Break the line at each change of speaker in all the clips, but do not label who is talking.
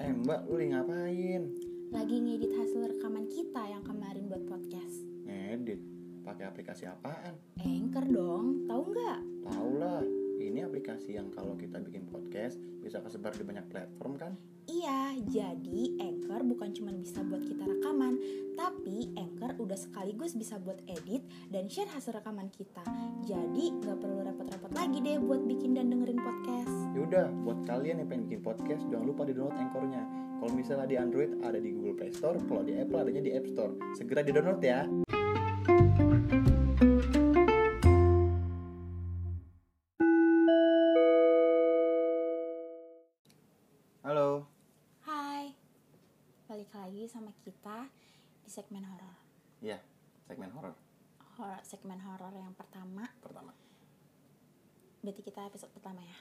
Eh mbak, lu lagi ngapain?
Lagi ngedit hasil rekaman kita yang kemarin buat podcast.
Ngedit. Pakai aplikasi apaan?
Anchor dong, tahu nggak?
Tahu lah. Ini aplikasi yang kalau kita bikin podcast bisa kesebar di banyak platform kan?
Iya, jadi Anchor bukan cuma bisa buat kita rekaman, tapi Anchor udah sekaligus bisa buat edit dan share hasil rekaman kita. Jadi nggak perlu repot-repot lagi deh buat bikin dan dengerin podcast.
Yaudah, buat kalian yang pengen bikin podcast, jangan lupa di download anchornya. Kalau misalnya di Android ada di Google Play Store, kalau di Apple adanya di App Store. Segera di download ya. Halo,
Hai, balik lagi sama kita di segmen horor.
ya segmen horor
Horor segmen horor yang pertama,
pertama.
berarti kita episode pertama ya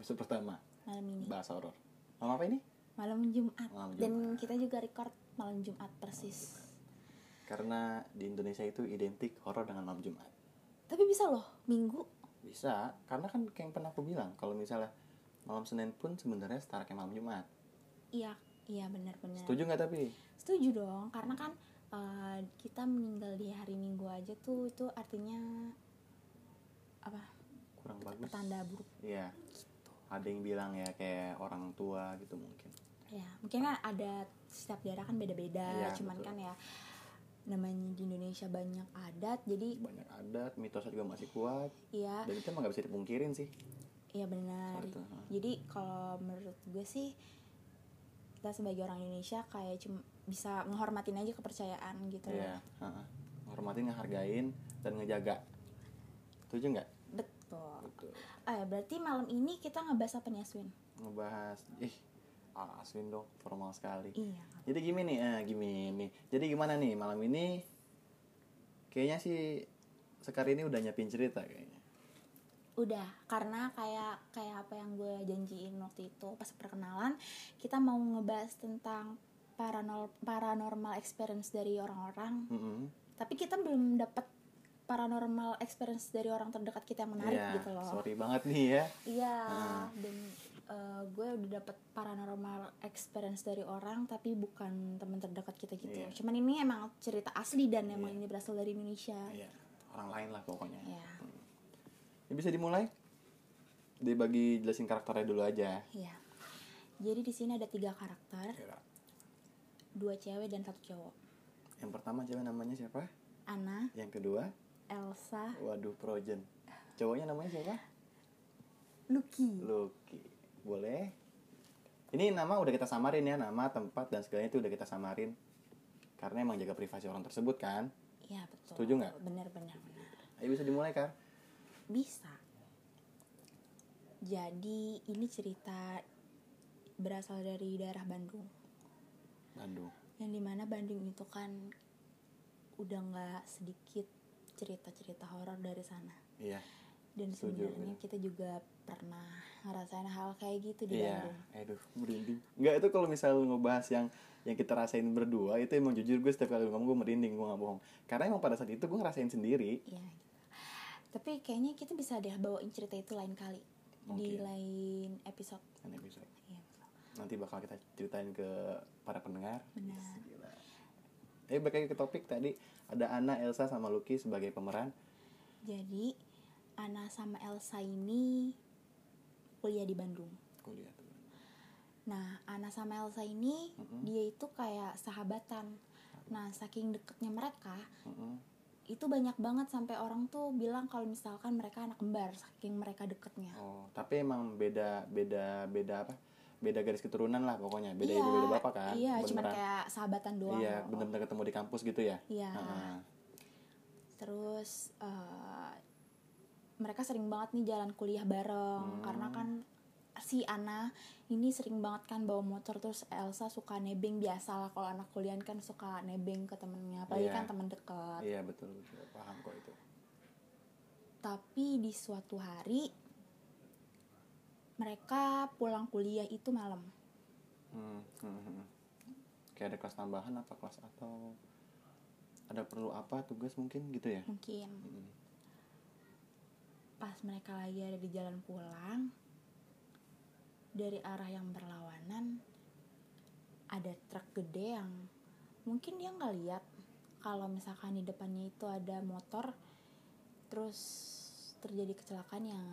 Episode pertama
malam ini.
bahasa horor. Malam apa ini?
malam Jumat.
Malam
dan
Jumat.
kita juga record malam Jumat persis
Karena di Indonesia itu identik horor dengan malam Jumat.
tapi bisa loh minggu
Bisa, karena kan kayak yang pernah aku bilang kalau misalnya malam Senin pun sebenarnya setara kayak malam Jumat.
iya iya benar-benar
Setuju nggak tapi?
Setuju dong karena kan eh, kita meninggal di hari minggu aja tuh itu artinya apa
Kurang bagus.
pertanda buruk
Iya. Ada yang bilang ya kayak orang tua gitu mungkin.
ya mungkin kan ada setiap daerah kan beda-beda
Iya,
cuman
betul.
kan ya namanya di Indonesia banyak adat jadi
Banyak adat, mitosnya juga masih kuat.
ya
Dan itu emang nggak bisa dipungkirin sih.
Iya benar.
Soal itu, ha.
Jadi kalau menurut gue sih kita sebagai orang Indonesia kayak cuma bisa menghormatin aja kepercayaan gitu. loh.
Iya. heeh. Hormatin, ngehargain, dan ngejaga. Setuju nggak?
Betul.
Betul.
Eh berarti malam ini kita ngebahas apa nih Aswin?
Ngebahas, ih, ah, aswin dong, formal sekali.
Iya.
Jadi gimana nih, eh, gimini. Jadi gimana nih malam ini? Kayaknya sih Sekar ini udah nyiapin cerita kayaknya.
Udah, karena kayak kayak apa yang gue janjiin waktu itu pas perkenalan, kita mau ngebahas tentang paranol- paranormal experience dari orang-orang,
Mm-mm.
tapi kita belum dapat paranormal experience dari orang terdekat kita yang menarik
Iya,
gitu loh.
Sorry banget nih ya.
Iya,
Nah.
dan eh, gue udah dapet paranormal experience dari orang tapi bukan teman terdekat kita gitu.
Iya.
Cuman ini emang cerita asli dan emang
Iya.
ini berasal dari Indonesia.
Iya, orang lain lah pokoknya.
Iya.
Ya, bisa dimulai? Dia bagi jelasin karakternya dulu aja.
Iya. Jadi di sini ada tiga karakter, dua cewek dan satu cowok.
Yang pertama cewek namanya siapa?
Anna,
Yang kedua,
Elsa,
waduh Projen. Cowoknya namanya siapa?
Lucky.
Lucky. Boleh? Ini nama udah kita samarin ya, nama, tempat dan segalanya itu udah kita samarin. Karena emang jaga privasi orang tersebut kan.
Iya betul.
Setuju nggak?
Bener-bener. bener.
Ayo bisa dimulai kan?
Bisa. Jadi ini cerita berasal dari daerah Bandung.
Bandung.
yang dimana Bandung itu kan udah nggak sedikit cerita-cerita horor dari sana
Iya.
dan
Setuju,
sebenarnya kita juga pernah ngerasain hal kayak gitu di
Iya.
Bandung
Aduh, merinding. Enggak itu kalau misalnya lu ngebahas yang yang kita rasain berdua itu emang jujur gue setiap kali lu ngomong gue merinding gue gak bohong. Karena emang pada saat itu gue ngerasain sendiri.
Iya, gitu. tapi kayaknya kita bisa deh bawain cerita itu lain kali di
Mungkin.
lain episode
Kan episode.
Iya.
Nanti bakal kita ceritain ke para pendengar.
Benar.
Yes, gila. Eh balik lagi ke topik tadi ada Anna, Elsa sama Lucky sebagai pemeran.
jadi Ana sama Elsa ini kuliah di Bandung
Kuliah tuh.
Nah, Ana sama Elsa ini
Mm-mm.
dia itu kayak sahabatan. Nah, saking deketnya mereka,
Mm-mm.
itu banyak banget sampai orang tuh bilang kalau misalkan mereka anak kembar saking mereka deketnya.
Oh, tapi emang beda beda beda apa? Beda garis keturunan lah pokoknya. Beda
Iya,
ibu beda bapak kan.
Iya, cuman
Beneran.
kayak sahabatan doang.
Iya,
loh.
bener-bener ketemu di kampus gitu ya.
Iya.
Heeh.
Terus eh, mereka sering banget nih jalan kuliah bareng
Hmm.
karena kan si Ana ini sering banget kan bawa motor terus Elsa suka nebeng biasa lah kalau anak kuliah kan suka nebeng ke temennya apalagi
Iya.
kan teman dekat
Iya betul, betul. paham kok itu.
tapi di suatu hari mereka pulang kuliah itu malam
Hmm, hmm, hmm. Kayak ada kelas tambahan apa kelas atau ada perlu apa tugas mungkin gitu ya?
mungkin
Mm-mm.
mereka lagi ada di jalan pulang dari arah yang berlawanan ada truk gede yang mungkin dia nggak lihat kalau misalkan di depannya itu ada motor terus terjadi kecelakaan yang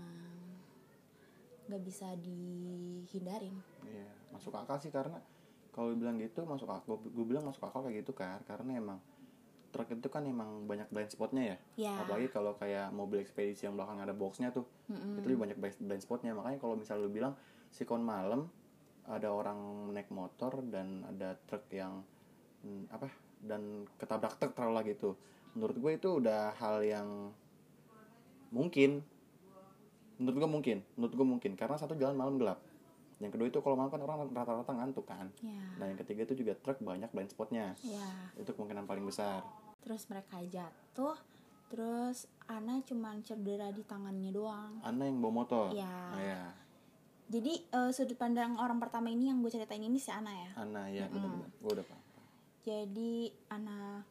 nggak bisa dihindarin
Iya, masuk akal sih karena kalau bilang gitu masuk akal. Gue bilang masuk akal kayak gitu kan karena emang truk itu kan emang banyak blind spotnya ya.
ya
Apalagi kalau kayak mobil ekspedisi yang belakang ada boxnya tuh,
mm-mm.
itu lebih banyak blind- blind spotnya. Makanya kalau misalnya lu bilang sikon malam ada orang naik motor dan ada truk yang hmm, apa dan ketabrak truk terlalu lagi tuh. Menurut gue itu udah hal yang mungkin. Menurut gue mungkin, menurut gue mungkin karena satu jalan malam gelap. Yang kedua itu kalau malam kan orang rata-rata ngantuk kan.
ya
Dan yang ketiga itu juga truk banyak blind spotnya.
ya
Itu kemungkinan paling besar.
terus mereka jatuh terus Ana cuman cedera di tangannya doang
Ana yang bawa motor.
ya
Nah, ya.
jadi eh, sudut pandang orang pertama ini yang gue ceritain ini si Ana ya
Ana ya benar-benar. Gue udah paham.
jadi Ana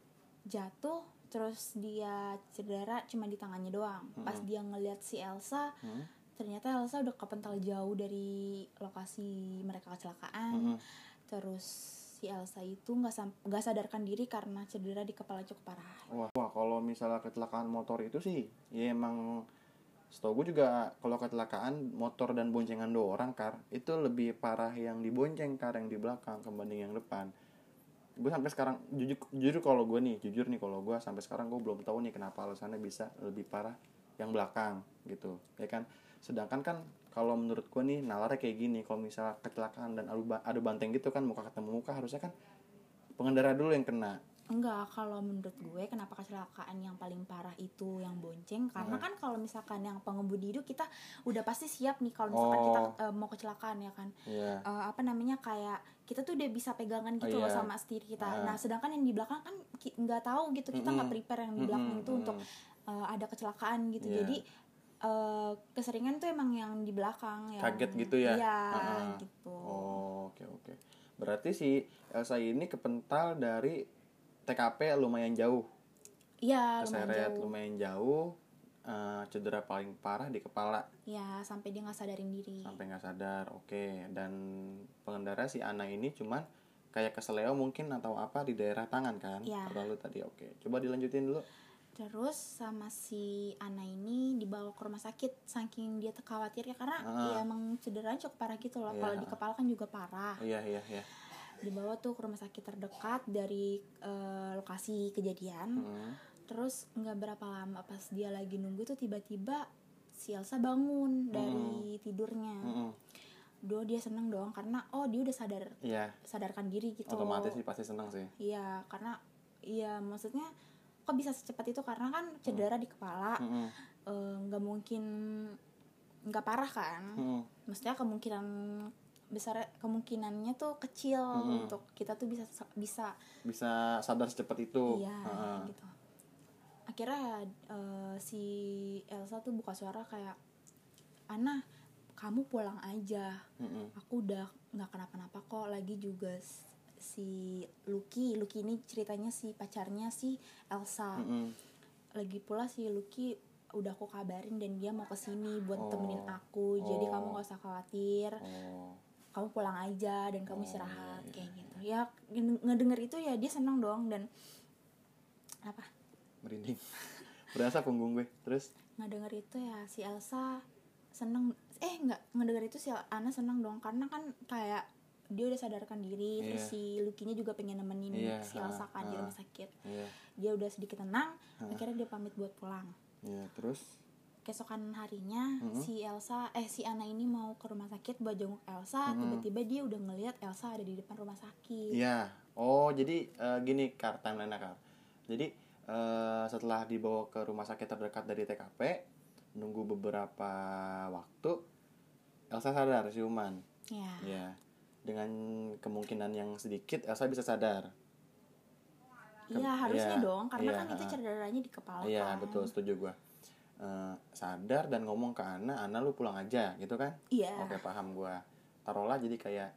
jatuh terus dia cedera cuma di tangannya doang pas
Mm-mm.
dia ngeliat si Elsa
Hmm?
ternyata Elsa udah kepental jauh dari lokasi mereka
Mm-mm.
kecelakaan terus si Elsa itu nggak sam- nggak sadarkan diri karena cedera di kepala cukup parah
Wah, wah kalau misalnya kecelakaan motor itu sih, ya emang setahu gue juga kalau kecelakaan motor dan boncengan dua orang kar itu lebih parah yang dibonceng kar yang di belakang kebanding yang depan. Gue sampai sekarang jujur jujur kalau gue nih, jujur nih kalau gue sampai sekarang gue belum tahu nih kenapa alasannya bisa lebih parah yang belakang gitu, ya kan? Sedangkan kan kalau menurut gue nih nalarnya kayak gini, kalau misalnya kecelakaan dan adu, ba- adu banteng gitu kan muka ketemu muka harusnya kan pengendara dulu yang kena.
Enggak, kalau menurut gue kenapa kecelakaan yang paling parah itu yang bonceng Karena
Nah.
kan kalau misalkan yang pengemudi itu kita udah pasti siap nih Kalau misalkan kita
Oh.
eh, mau kecelakaan ya kan
Iya.
Eh, Apa namanya kayak kita tuh udah bisa pegangan
Oh,
gitu loh
iya.
sama setir kita
Ah.
Nah sedangkan yang di belakang kan ki- nggak tahu gitu Kita nggak
Mm-mm.
prepare yang di belakang
Mm-mm,
itu untuk
mm.
eh, ada kecelakaan gitu
Iya.
Jadi eh, keseringan tuh emang yang di belakang yang,
Kaget gitu ya?
Iya
Ah.
gitu
Oh, oke oke. Berarti si Elsa ini kepental dari TKP lumayan jauh,
Iya lumayan
keseret
jauh
lumayan jauh, eh, cedera paling parah di kepala
Ya sampai dia nggak sadarin diri
sampai nggak sadar. Oke, dan pengendara si Ana ini cuman kayak keseleo mungkin atau apa di daerah tangan kan?
Iya. Ah.
Lalu tadi oke. Coba dilanjutin dulu.
Terus sama si Ana ini dibawa ke rumah sakit saking dia khawatir ya karena
Ah.
ya emang cedera cukup parah gitu loh.
Iya.
Kalau di kepala kan juga parah.
Iya iya iya.
Dibawa tuh ke rumah sakit terdekat dari eh, lokasi kejadian.
Mm.
Terus nggak berapa lama pas dia lagi nunggu tuh tiba-tiba si Elsa
Hmm.
bangun dari tidurnya.
Mm-mm.
Duh dia seneng dong karena oh dia udah sadar
Iya.
sadarkan diri gitu.
Otomatis sih pasti senang sih.
Iya karena iya maksudnya kok bisa secepat itu karena kan cedera di kepala.
Mm-mm.
eh, nggak mungkin nggak parah kan
Mm-mm.
maksudnya kemungkinan besar kemungkinannya tuh kecil
Mm-mm.
untuk kita tuh bisa bisa
Bisa sadar secepat itu.
iya
Heeh.
gitu akhirnya ya, eh, si Elsa tuh buka suara kayak Ana kamu pulang aja
Mm-mm.
aku udah nggak kenapa-napa kok lagi juga s- si Lucky Lucky ini ceritanya si pacarnya si Elsa
Mm-mm.
lagi pula si Lucky udah aku kabarin dan dia mau kesini
Oh.
buat temenin aku jadi
Oh.
kamu gak usah khawatir
Oh.
kamu pulang aja dan kamu
Oh,
istirahat
iya,
kayak
iya.
gitu ya ngedeng- ngedenger itu ya dia senang dong dan apa
merinding berasa punggung gue terus
ngedenger itu ya si Elsa seneng eh nggak ngedenger itu si Ana seneng dong karena kan kayak dia udah sadarkan diri
Iya.
terus si Lukinya juga pengen nemenin
Iya,
si Elsa
ah,
kan di
ah.
rumah sakit
iya
dia udah sedikit tenang
Ah.
akhirnya dia pamit buat pulang
iya terus
keesokan harinya
Mhm.
si Elsa eh si Ana ini mau ke rumah sakit buat jenguk Elsa
Mhm.
tiba-tiba dia udah ngelihat Elsa ada di depan rumah sakit
iya oh jadi eh, gini kar timeline kar jadi eh, setelah dibawa ke rumah sakit terdekat dari TKP nunggu beberapa waktu Elsa sadar siuman
ya
iya dengan kemungkinan yang sedikit Elsa bisa sadar Ke-
iya harusnya
iya,
dong karena
iya,
kan itu
ha.
cederanya di kepala
iya
kan.
betul setuju gue Eh, sadar dan ngomong ke Ana Ana lu pulang aja gitu kan
iya
Oke paham gua Taruhlah jadi kayak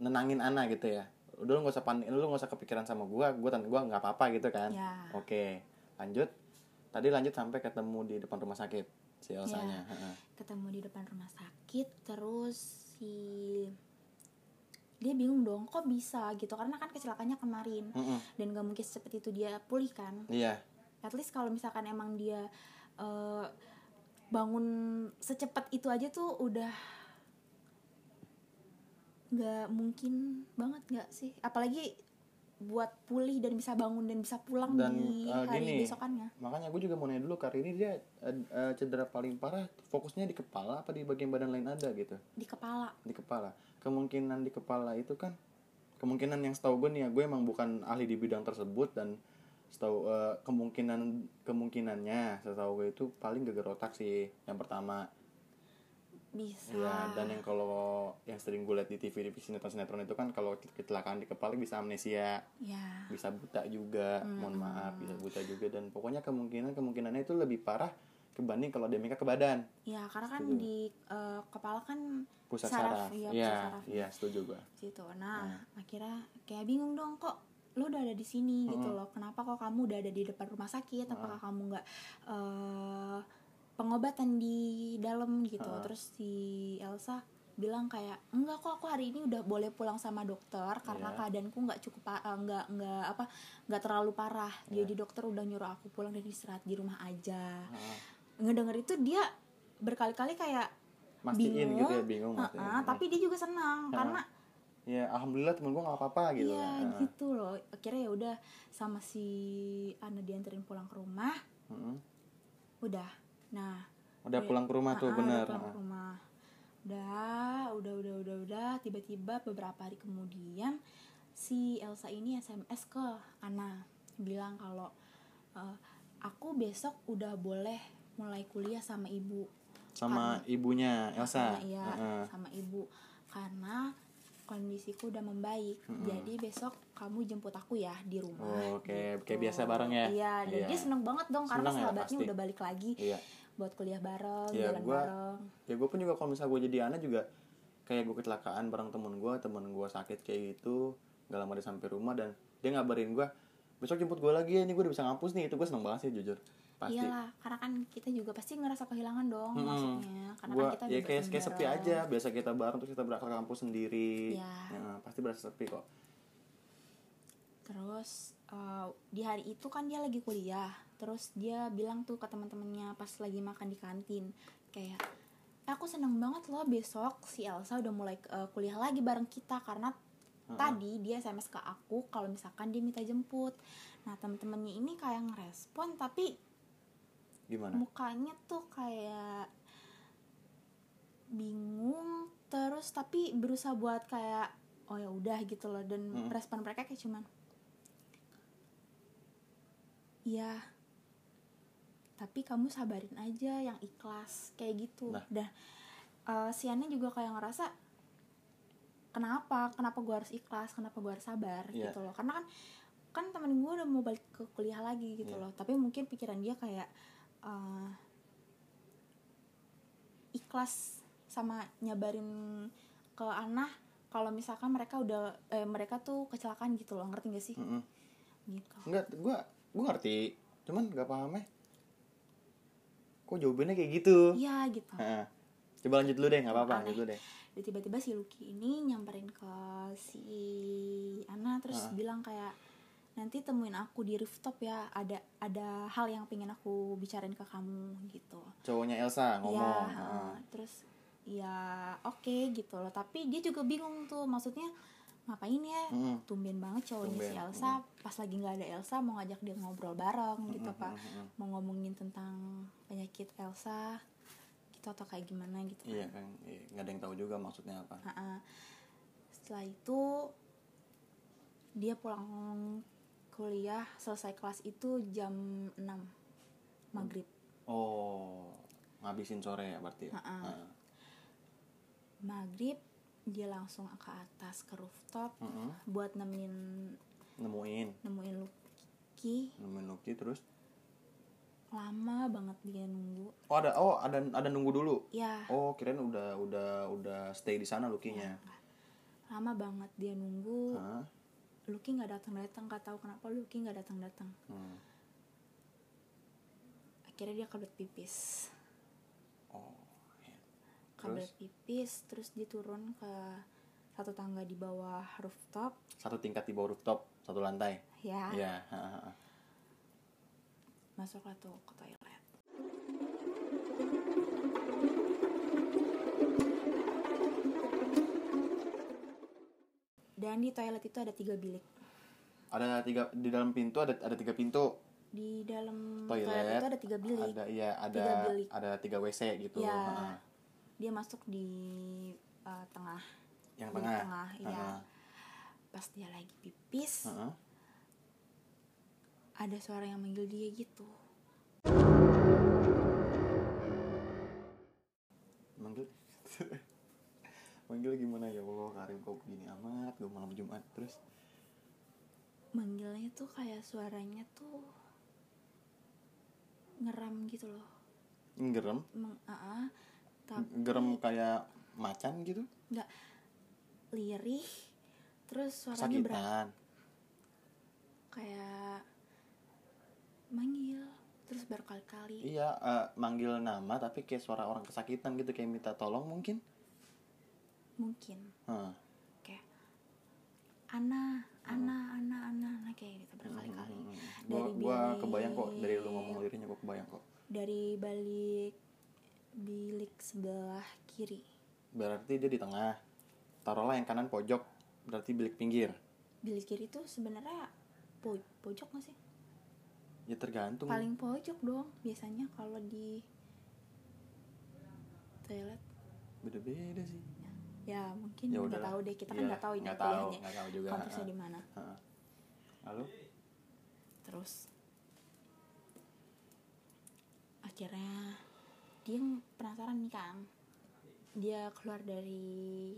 nenangin Ana gitu ya. Udah lu gak usah panik, lu gak usah kepikiran sama gua, gua tan gua nggak apa-apa gitu kan.
ya
Oke, lanjut. Tadi lanjut sampai ketemu di depan rumah sakit. si Elsanya heeh.
ketemu di depan rumah sakit terus si dia bingung dong kok bisa gitu karena kan kecelakaannya kemarin
Mm-mm.
dan gak mungkin seperti itu dia pulih kan
iya
at least kalau misalkan emang dia eh, bangun secepat itu aja tuh udah nggak mungkin banget nggak sih apalagi buat pulih dan bisa bangun dan bisa pulang
Dan,
di
eh,
hari
gini.
besokannya
makanya gue juga mau nanya dulu kali ini dia eh, eh, cedera paling parah fokusnya di kepala apa di bagian badan lain ada gitu
di kepala
di kepala kemungkinan di kepala itu kan kemungkinan yang setahu gue nih ya gue emang bukan ahli di bidang tersebut dan setahu eh, kemungkinan kemungkinannya setahu gue itu paling geger otak sih yang pertama
bisa
Iya, dan yang kalau yang sering gue lihat di TV di sinetron-sinetron itu kan kalau kecelakaan di kepala bisa amnesia,
ya
bisa buta juga,
Hmm.
mohon maaf, bisa buta juga dan pokoknya kemungkinan kemungkinannya itu lebih parah kebanding kalau damage ke badan,
ya karena kan
Setuju.
di eh, kepala kan
pusat
Saraf,
saraf.
iya, pusat
Iya,
saraf.
iya, setuju gue.
gitu nah akhirnya kayak bingung dong kok lo udah ada di sini gitu
Mm-mm.
loh kenapa kok kamu udah ada di depan rumah sakit apakah kamu nggak eh, pengobatan di dalam gitu
Mm.
terus si Elsa bilang kayak enggak kok aku hari ini udah boleh pulang sama dokter karena
Iya.
keadaanku nggak cukup pa- eh, nggak nggak apa nggak terlalu parah
Iya.
jadi dokter udah nyuruh aku pulang dan istirahat di rumah aja
Heeh.
ngedenger itu dia berkali-kali kayak
Mastiin
Bingung.
gitu ya, bingung
"Ah,
mastiin.
ah," tapi dia juga senang
Heeh.
karena
ya alhamdulillah temen gue nggak apa-apa gitu.
Iya
kan. Heeh.
gitu loh Akhirnya ya udah sama si Ana dianterin pulang ke rumah
Heeh.
Udah Nah
Udah
Iya.
pulang ke rumah tuh
ah, ah,
bener.
udah pulang ke
Heeh.
rumah Udah udah udah udah udah Tiba-tiba beberapa hari kemudian Si Elsa ini SMS ke Ana Bilang kalau "Eh, Aku besok udah boleh mulai kuliah sama ibu Ah,
Sama ibunya Elsa.
Karena iya,
Heeh.
sama ibu Karena kondisiku udah membaik
Mm-mm.
Jadi besok kamu jemput aku ya di rumah
Oh, kayak
gitu.
kayak biasa bareng ya.
Iya, dan
Iya.
dia seneng banget dong karena
Seneng ya,
sahabatnya
pasti.
udah balik lagi
Iya.
buat kuliah bareng,
Iya,
jalan
gua-
bareng.
ya gue pun juga kalau misalnya gue jadi anak juga kayak gue kecelakaan bareng temen gue temen gue sakit kayak gitu gak lama dia sampai rumah dan dia ngabarin gue besok jemput gue lagi ya ini gue udah bisa ngampus nih itu gue seneng banget sih jujur pasti
Iyalah, karena kan kita juga pasti ngerasa kehilangan dong
Mm-mm.
maksudnya. Karena
gue
kan kita
ya
bebas
kayak kayak sepi
bareng.
aja biasa kita bareng terus kita berangkat ke kampus sendiri
Iya.
Ya, pasti berasa sepi kok
Terus eh, di hari itu kan dia lagi kuliah. Terus dia bilang tuh ke teman-temannya pas lagi makan di kantin kayak aku seneng banget loh besok si Elsa udah mulai eh, kuliah lagi bareng kita karena
Heeh.
tadi dia SMS ke aku kalau misalkan dia minta jemput. Nah, temen-temennya ini kayak ngerespon tapi
gimana
mukanya tuh kayak bingung terus tapi berusaha buat kayak oh ya udah gitu loh dan
Mm.
respon mereka kayak cuman Iya tapi kamu sabarin aja yang ikhlas kayak gitu
Nah.
dan eh, si Ana juga kayak ngerasa kenapa kenapa gue harus ikhlas kenapa gue harus sabar
Iya.
gitu loh karena kan kan temen gue udah mau balik ke kuliah lagi gitu
Iya.
loh tapi mungkin pikiran dia kayak eh, ikhlas sama nyabarin ke Ana kalau misalkan mereka udah eh, mereka tuh kecelakaan gitu loh ngerti gak sih
Mm-mm.
gitu
Enggak, gue gue ngerti cuman gak pahamnya kok jawabannya kayak gitu
iya gitu
Heeh. coba lanjut dulu deh nggak apa-apa
Aneh.
lanjut dulu deh
Dan tiba-tiba si Lucky ini nyamperin ke si Ana terus
Ah.
bilang kayak nanti temuin aku di rooftop ya ada ada hal yang pengen aku bicarain ke kamu gitu
cowoknya Elsa ngomong
ya
Heeh.
eh, terus ya oke gitu loh tapi dia juga bingung tuh maksudnya ngapain ya
Mm-mm.
tumben banget cowoknya si
Tumben,
Elsa pas lagi nggak ada Elsa mau ngajak dia ngobrol bareng gitu
Mm-mm,
pak
mm-mm.
mau ngomongin tentang penyakit Elsa gitu atau kayak gimana gitu
Iya
kan
kan, iya, nggak ada yang tahu juga maksudnya apa.
Ha-ha. setelah itu dia pulang kuliah selesai kelas itu jam 6 maghrib
Oh, ngabisin sore ya berarti. ya?
Ha-ha.
Ha-ha.
maghrib dia langsung ke atas ke rooftop
Mm-mm.
buat nemenin
Nemuin,
nemuin Lucky
nemuin Lucky terus.
lama banget dia nunggu
Oh ada, oh ada, ada nunggu dulu.
ya
Oh kirain udah, udah, udah stay di sana
Iya.
Lucky-nya.
lama banget dia nunggu
Hah?
Lucky nggak datang datang gak tahu kenapa Lucky nggak datang datang
Hmm.
akhirnya dia kebelet pipis kabel pipis terus dia turun ke satu tangga di bawah rooftop
Satu tingkat di bawah rooftop, satu lantai.
ya
Iya. ha, ha, ha.
masuklah tuh ke toilet dan di toilet itu ada tiga bilik
Ada tiga di dalam pintu ada ada tiga pintu.
di dalam toilet,
Toilet,
itu Hmm, ada tiga bilik
Ada iya ada
Tiga bilik.
ada tiga WC gitu.
Ya.
ha, ha.
dia masuk di eh, tengah
Yang
di
tengah.
tengah
Ha,
ya
ha.
pas dia lagi pipis
Ha, ha.
ada suara yang manggil dia gitu
Manggil. Manggil gimana ya Allah Karim kok begini amat gue malam Jumat terus
manggilnya tuh kayak suaranya tuh ngeram gitu loh
ngerem
Meng, aa, tapi
gerem kayak macan gitu
nggak lirih terus suaranya berat
kesakitan
kayak manggil terus berkali-kali
iya eh, manggil nama tapi kayak suara orang kesakitan gitu kayak minta tolong mungkin
mungkin
Hah.
kayak Ana Ana Ana Ana Ana kayak gitu berkali-kali
Oh. Hmm,
Dari
gua, gua
bilik.
kebayang kok dari lu ngomong liriknya gua kebayang kok
dari balik bilik sebelah kiri
berarti dia di tengah taruhlah yang kanan pojok berarti bilik pinggir
bilik kiri tuh sebenarnya po- pojok gak sih
ya tergantung
paling pojok dong biasanya kalau di toilet
beda-beda sih
ya mungkin
ya
nggak
udahlah
tahu deh kita kan
Iya,
nggak tahu ini
nggak tahu
kuliahnya
nggak tahu juga
kampusnya
ha.
di mana
Ha. lalu
terus akhirnya dia ng- penasaran nih kang dia keluar dari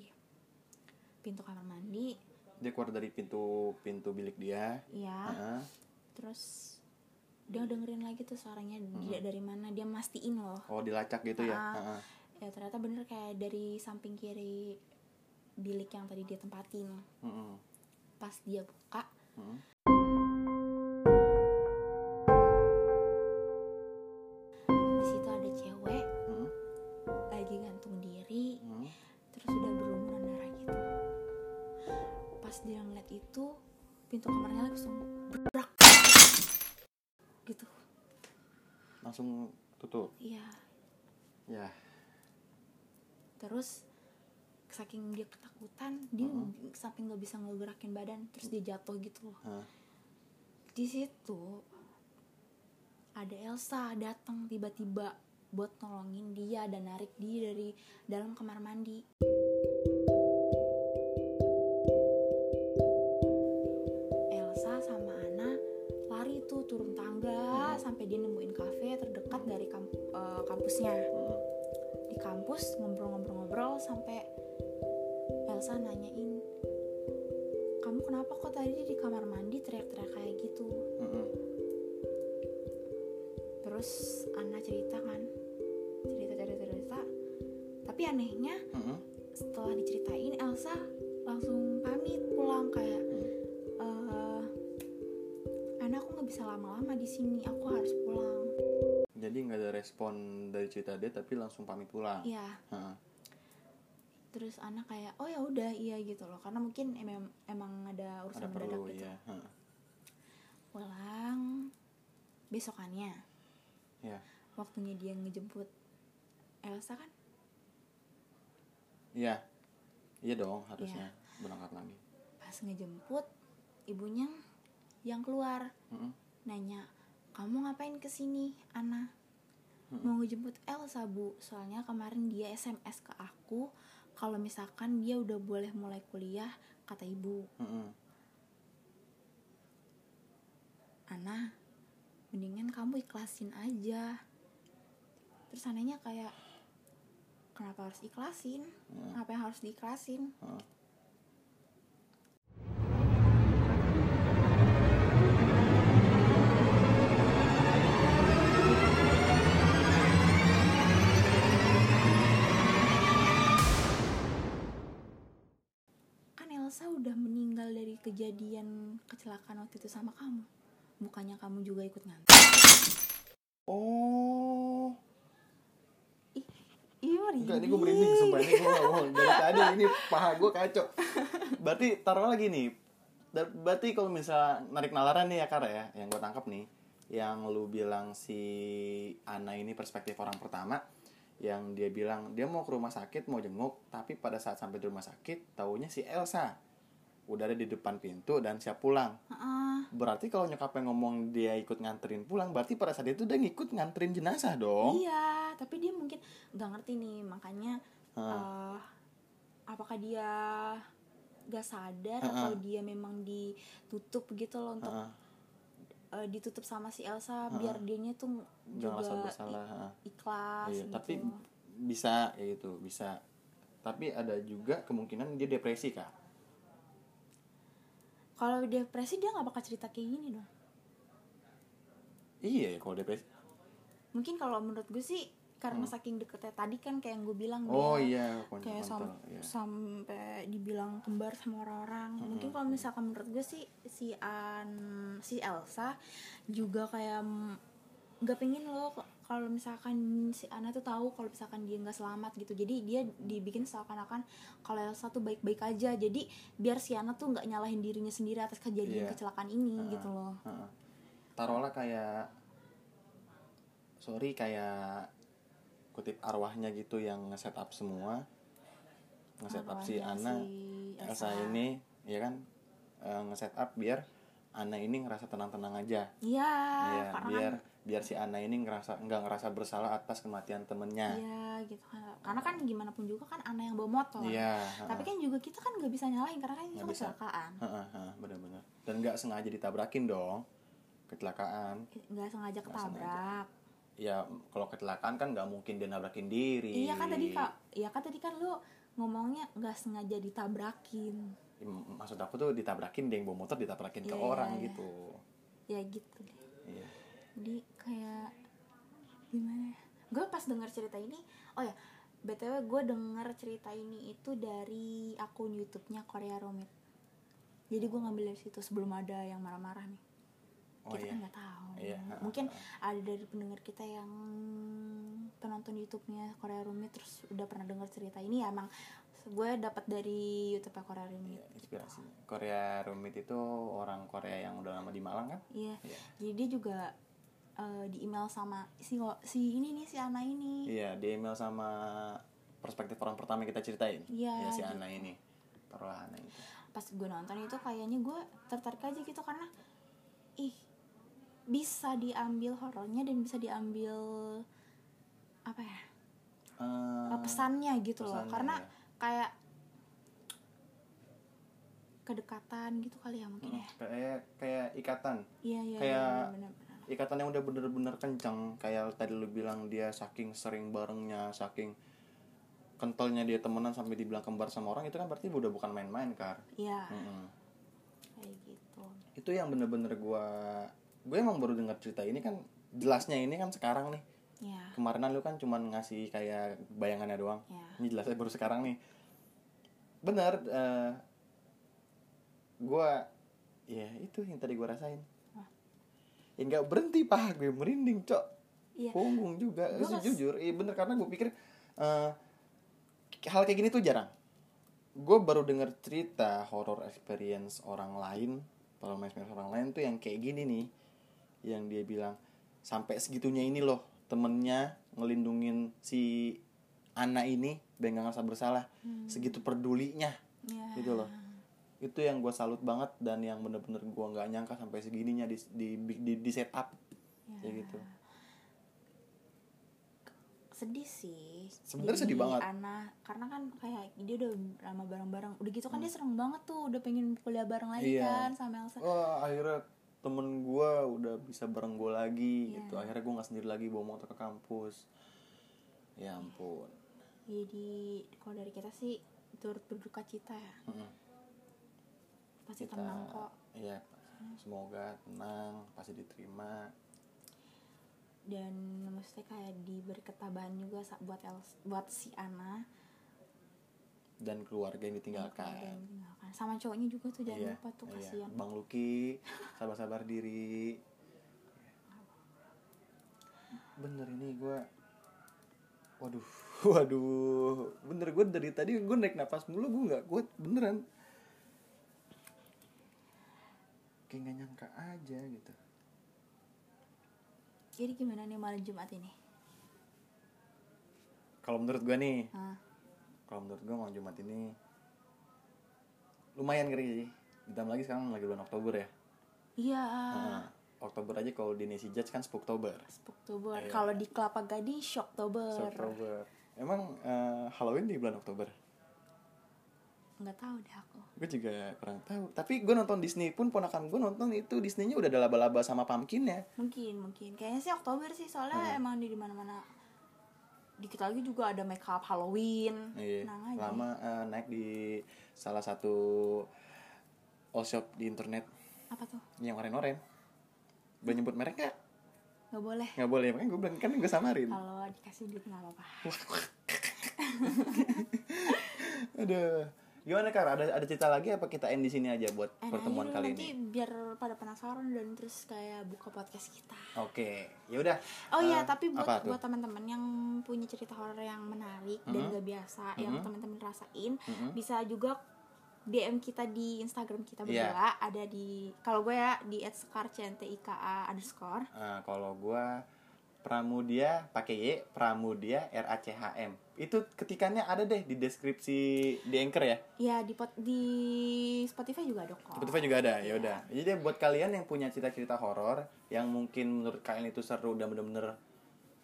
pintu kamar mandi
dia keluar dari pintu pintu bilik dia
ya
Ha.
terus dia dengerin lagi tuh suaranya dia dari mana dia mastiin loh
oh dilacak gitu ya
Ha.
Ha.
ya ternyata bener kayak dari samping kiri bilik yang tadi dia tempatin
Mm-mm.
pas dia buka
Mm-mm.
di situ ada cewek
Mm-mm.
lagi gantung diri
Mm-mm.
terus udah berlumuran darah gitu pas dia ngeliat itu pintu kamarnya langsung berak gitu
langsung tutup
iya
ya
terus saking dia ketakutan dia sampai nggak bisa ngegerakin badan terus dia jatuh gitu loh
Hah.
di situ ada Elsa datang tiba-tiba buat nolongin dia dan narik dia dari dalam kamar mandi Elsa sama Ana lari tuh turun tangga sampai dia nemuin kafe terdekat dari kamp- eh, kampusnya
Mm-mm.
di kampus ngobrol-ngobrol-ngobrol sampai Elsa nanyain kamu kenapa kok tadi di kamar mandi teriak-teriak kayak gitu
Mm-mm.
terus Anna cerita kan cerita cerita cerita tapi anehnya
Mm-mm.
setelah diceritain Elsa langsung pamit pulang kayak eh Anna aku nggak bisa lama-lama di sini aku harus pulang
jadi nggak ada respon dari cerita dia tapi langsung pamit pulang
ya
Ha.
terus Anna kayak oh ya udah iya gitu loh karena mungkin emang emang ada
ada
urusan mendadak
perlu
gitu
ya Ha.
pulang besokannya
ya
waktunya dia ngejemput Elsa kan
Iya. Iya dong harusnya
Iya.
berangkat lagi.
pas ngejemput ibunya yang keluar
Mm-mm.
nanya kamu ngapain kesini Ana mau ngejemput Elsa bu soalnya kemarin dia SMS ke aku kalau misalkan dia udah boleh mulai kuliah kata ibu
Mm-mm.
Ana mendingan kamu ikhlasin aja terus anehnya kayak kenapa harus ikhlasin
Hmm.
apa yang harus diikhlasin
Ha.
kan Elsa udah meninggal dari kejadian kecelakaan waktu itu sama kamu bukannya kamu juga ikut nganter
Oh,
iya lu merinding.
Enggak, ini gue merinding Iya, sumpah ini gue ngomong dari tadi ini paha gue kacau. Berarti taruh lagi nih. Da- Berarti kalau misalnya narik nalaran nih ya Kara ya, yang gue tangkap nih, yang lu bilang si Ana ini perspektif orang pertama, yang dia bilang dia mau ke rumah sakit mau jenguk, tapi pada saat sampai di rumah sakit taunya si Elsa udah ada di depan pintu dan siap pulang.
Heeh.
Berarti kalau nyokapnya ngomong dia ikut nganterin pulang, berarti pada saat itu dia ngikut nganterin jenazah dong.
Iya, tapi dia mungkin nggak ngerti nih, makanya
Heeh.
eh, apakah dia gak sadar
Heeh.
atau dia memang ditutup gitu loh untuk
Heeh.
eh, ditutup sama si Elsa
Heeh.
biar dianya tuh
Jangan
juga
rasa
i-
bersalah. heeh.
ikhlas
Iya,
gitu.
tapi bisa ya itu bisa tapi ada juga kemungkinan dia depresi kak
Kalau depresi dia nggak bakal cerita kayak gini dong.
iya ya kalau depresi
Mungkin kalau menurut gue sih karena saking deketnya tadi kan kayak yang gue bilang
Hmm. oh
dia
iya kontak
kayak sam- sampai dibilang kembar sama orang-orang mungkin kalau misalkan menurut gue sih si An si Elsa juga kayak m- nggak pengen loh k- kalau misalkan si Ana tuh tahu kalau misalkan dia nggak selamat gitu jadi dia dibikin seakan-akan kalau Elsa tuh baik-baik aja jadi biar si Ana tuh nggak nyalahin dirinya sendiri atas
Iya.
kejadian kecelakaan ini
Ah.
gitu loh
taruhlah kayak sorry kayak kutip arwahnya gitu yang nge up semua nge up si
Arwahnya
Ana
si
Elsa ini ya kan nge up biar Ana ini ngerasa tenang-tenang aja
iya
Iya,
karena
biar
kan
biar si Ana ini ngerasa nggak ngerasa bersalah atas kematian temennya
iya gitu kan karena kan gimana pun juga kan Ana yang bawa motor
iya heeh.
tapi kan juga kita kan nggak bisa nyalain karena kan itu
Nggak bisa.
kecelakaan
Heeh, heeh, benar-benar. Dan nggak sengaja ditabrakin dong. Kecelakaan.
nggak sengaja
Nggak sengaja.
ketabrak
Ya kalau kecelakaan kan nggak mungkin dia nabrakin diri.
iya kan tadi kak iya kan tadi kan lu ngomongnya nggak sengaja ditabrakin
M- Maksud aku tuh ditabrakin dia yang bawa motor ditabrakin ke
Iya,
orang
iya, iya.
gitu.
ya gitu deh
Iya.
jadi kayak gimana ya gue pas denger cerita ini oh ya btw gue denger cerita ini itu dari akun YouTube-nya Korea Romit jadi gue ngambil dari situ sebelum ada yang marah-marah nih
Oh
kita
iya.
kan nggak tahu
Iya, ha,
mungkin
ha,
ada dari pendengar kita yang penonton YouTube-nya Korea Rumit terus udah pernah dengar cerita ini ya emang gue dapat dari YouTube Korea Rumit
Iya, inspirasinya. Korea rumit itu orang Korea yang udah lama di Malang kan?
iya
Iya.
jadi dia juga eh, di email sama si si ini nih si Ana ini
Iya, di email sama perspektif orang pertama yang kita ceritain.
Iya,
Iya, si
gitu.
Ana ini. Taruhlah Ana itu.
pas gue nonton itu kayaknya gue tertarik aja gitu karena ih bisa diambil horornya dan bisa diambil apa ya
Eh,
pesannya gitu loh
pesannya,
karena
iya.
kayak kedekatan gitu kali ya mungkin ya
Mm, kayak kayak ikatan
iya iya
Hmm. Kayak-
iya, benar-benar.
ikatan yang udah bener-bener kencang kayak tadi lu bilang dia saking sering barengnya saking kentalnya dia temenan sampai dibilang kembar sama orang itu kan berarti udah bukan main-main kar
iya
Mm-mm.
kayak gitu
itu yang bener-bener gua gue emang baru dengar cerita ini kan jelasnya ini kan sekarang nih
ya
kemarinan lu kan cuman ngasih kayak bayangannya doang
ya
ini jelasnya baru sekarang nih bener eh, gua ya itu yang tadi gua rasain
Apa?
ya nggak berhenti paha gue merinding cok
Iya.
punggung juga
Gua pas-
jujur iya bener karena gue pikir eh, hal kayak gini tuh jarang gue baru denger cerita horror experience orang lain horror experience orang lain tuh yang kayak gini nih yang dia bilang sampai segitunya ini loh temennya ngelindungin si anak ini biar nggak ngerasa bersalah
Hmm,
segitu pedulinya
ya
gitu loh itu yang gue salut banget dan yang bener-bener gue nggak nyangka sampai segininya di di di, di setup
ya.
kayak gitu
sedih sih
Sebenarnya
Jadi
sedih banget.
Ana karena kan kayak dia udah lama bareng-bareng udah gitu kan dia serem banget tuh udah pengen kuliah bareng lagi
Hmm. Iya.
kan sama Elsa
wah akhirnya temen gue udah bisa bareng gue lagi
Iya.
gitu akhirnya gue nggak sendiri lagi bawa motor ke kampus ya ampun
jadi kalau dari kita sih turut berduka cita ya
Mm-mm.
pasti tenang kok
Iya, semoga tenang pasti diterima
dan maksudnya kayak diberi ketabahan juga sa- buat Els- buat si Ana
dan keluarga yang ditinggalkan
dan tinggalkan. sama cowoknya juga tuh jangan lupa tuh
iya.
kasihan
Bang Luki, sabar-sabar diri. Bener ini gue, waduh, Waduh, bener gue dari tadi gue naik napas mulu gue nggak kuat beneran. Kayak gak nyangka aja gitu.
Jadi gimana nih malam Jumat ini?
Kalau menurut gue nih,
Hah?
kalau menurut gue malam Jumat ini lumayan ngeri sih. Ditambah lagi sekarang lagi bulan Oktober ya.
Iya.
Nah, Oktober aja kalau di Nisi Judge kan Spooktober.
Spooktober.
Iya.
Kalau di Kelapa Gading Shocktober.
Oktober. Emang eh, Halloween di bulan Oktober?
Nggak tahu deh aku.
Gue juga kurang tahu. Tapi gue nonton Disney pun ponakan gue nonton itu Disney-nya udah ada laba-laba sama pumpkin ya.
Mungkin, mungkin. Kayaknya sih Oktober sih soalnya
Hmm.
emang di di mana-mana. Dikit lagi juga ada make up Halloween.
Iya.
Tenang aja.
Lama eh, naik di salah satu all shop di internet
Apa tuh?
yang oren-oren. Boleh nyebut merek nggak?
Nggak boleh.
Nggak boleh, makanya gue bilang kan gue samarin.
Kalau dikasih duit nggak apa-apa.
Aduh. Gimana Kar? Ada ada cerita lagi apa kita end di sini aja buat
And
pertemuan kali
akhirnya Eh, nah, nanti
ini?
biar pada penasaran dan terus kayak buka podcast kita.
Oke, yaudah.
Oh
Eh,
iya, tapi buat
apa tuh?
buat teman-teman yang punya cerita horor yang menarik dan
Mhm.
gak biasa yang
Mhm.
teman-teman rasain,
Mm-mm.
bisa juga DM kita di Instagram kita berdua
Iya.
ada di kalau gue ya di @skarcntika underscore.
Nah, kalau gua Pramudia pakai Y, Pramudia R A C H M. Itu ketikannya ada deh di deskripsi di Anchor ya.
Ya di pot, di Spotify juga ada kok. Iya.
Spotify juga ada, ya udah. Jadi buat kalian yang punya cerita-cerita horor yang mungkin menurut kalian itu seru dan bener-bener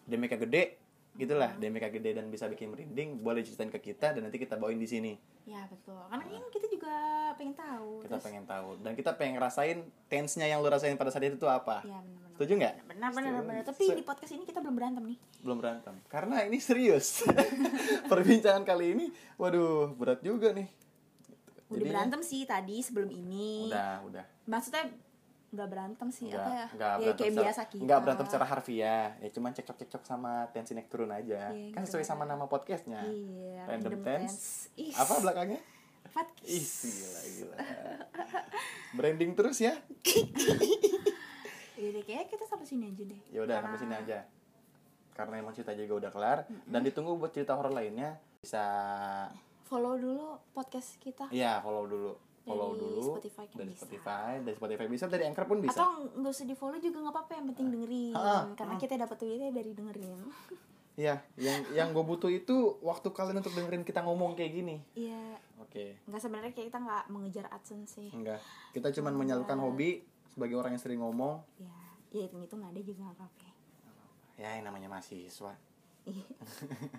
demika gede, gitulah, demika gede dan bisa bikin merinding, boleh ceritain ke kita dan nanti kita bawain di sini.
Ya betul. Karena kan kita juga pengen tahu.
Kita
Terus-
pengen tahu dan kita pengen ngerasain tense-nya yang lu rasain pada saat itu tuh apa.
Ya benar-benar.
Setuju nggak?
Benar benar
Setuju.
benar. Tapi
Se-
di podcast ini kita belum berantem nih.
belum berantem karena ini serius perbincangan kali ini waduh berat juga nih
Udah
Jadinya-
berantem sih tadi sebelum ini.
udah udah
Maksudnya nggak berantem sih
nggak
apa ya?
nggak
Ya,
berantem
kayak
secara,
biasa kita.
nggak berantem secara harfiah ya cuman cekcok cekcok sama tensi naik turun aja
Iya,
kan
gitu.
sesuai sama nama podcastnya
Iya,
random, tense
Ih,
apa belakangnya
podcast.
ih gila gila branding terus ya
Iya, deh, kayaknya kita sampai sini aja deh.
ya udah sampai
Ah.
sini aja karena emang cerita juga udah kelar dan ditunggu buat cerita horor lainnya bisa
Follow dulu podcast kita.
ya follow dulu follow
Dari
dulu
Spotify kan
dari
bisa.
Spotify dari Spotify bisa dari Anchor pun bisa
Atau nggak usah di follow juga nggak apa-apa yang penting dengerin
Ah,
karena kita dapat duitnya dari dengerin.
Iya, yang yang gue butuh itu waktu kalian untuk dengerin kita ngomong kayak gini.
Iya,
Oke.
nggak sebenarnya kayak kita nggak mengejar adsense sih.
Enggak. Kita
Iya.
cuman menyalurkan hobi sebagai orang yang sering ngomong.
Ya, ya itu itu nggak ada juga nggak apa-apa.
Ya, yang namanya mahasiswa.
Iya.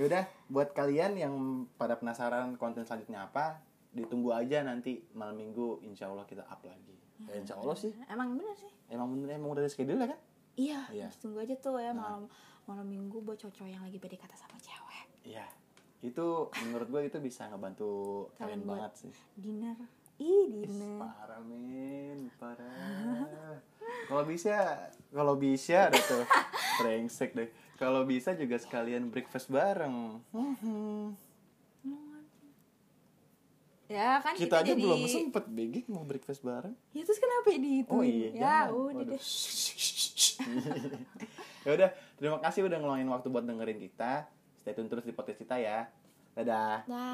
Yaudah, buat kalian yang pada penasaran konten selanjutnya apa, ditunggu aja nanti malam minggu insya Allah kita up lagi.
Iya.
Ya, insya Allah sih.
Emang bener sih.
Emang bener emang udah ada schedule ya kan?
Iya,
Iya.
tunggu aja tuh ya malam malam minggu buat cowok yang lagi beda kata sama cewek.
Iya. Itu menurut gue itu bisa ngebantu
Kalian
kalian
buat-
banget sih.
Dinner. Ih,
Is,
dinner.
parah men parah kalau bisa kalau bisa ada tuh brengsek deh kalau bisa juga sekalian breakfast bareng Mhm.
Ya kan
kita,
kita,
aja
jadi
belum sempet begik mau breakfast bareng
Ya terus kenapa ya dihitung?
oh iya
Ya
jangan.
udah
Waduh.
deh.
ya udah terima kasih udah ngeluangin waktu buat dengerin kita stay tune terus di podcast kita ya dadah
Dah.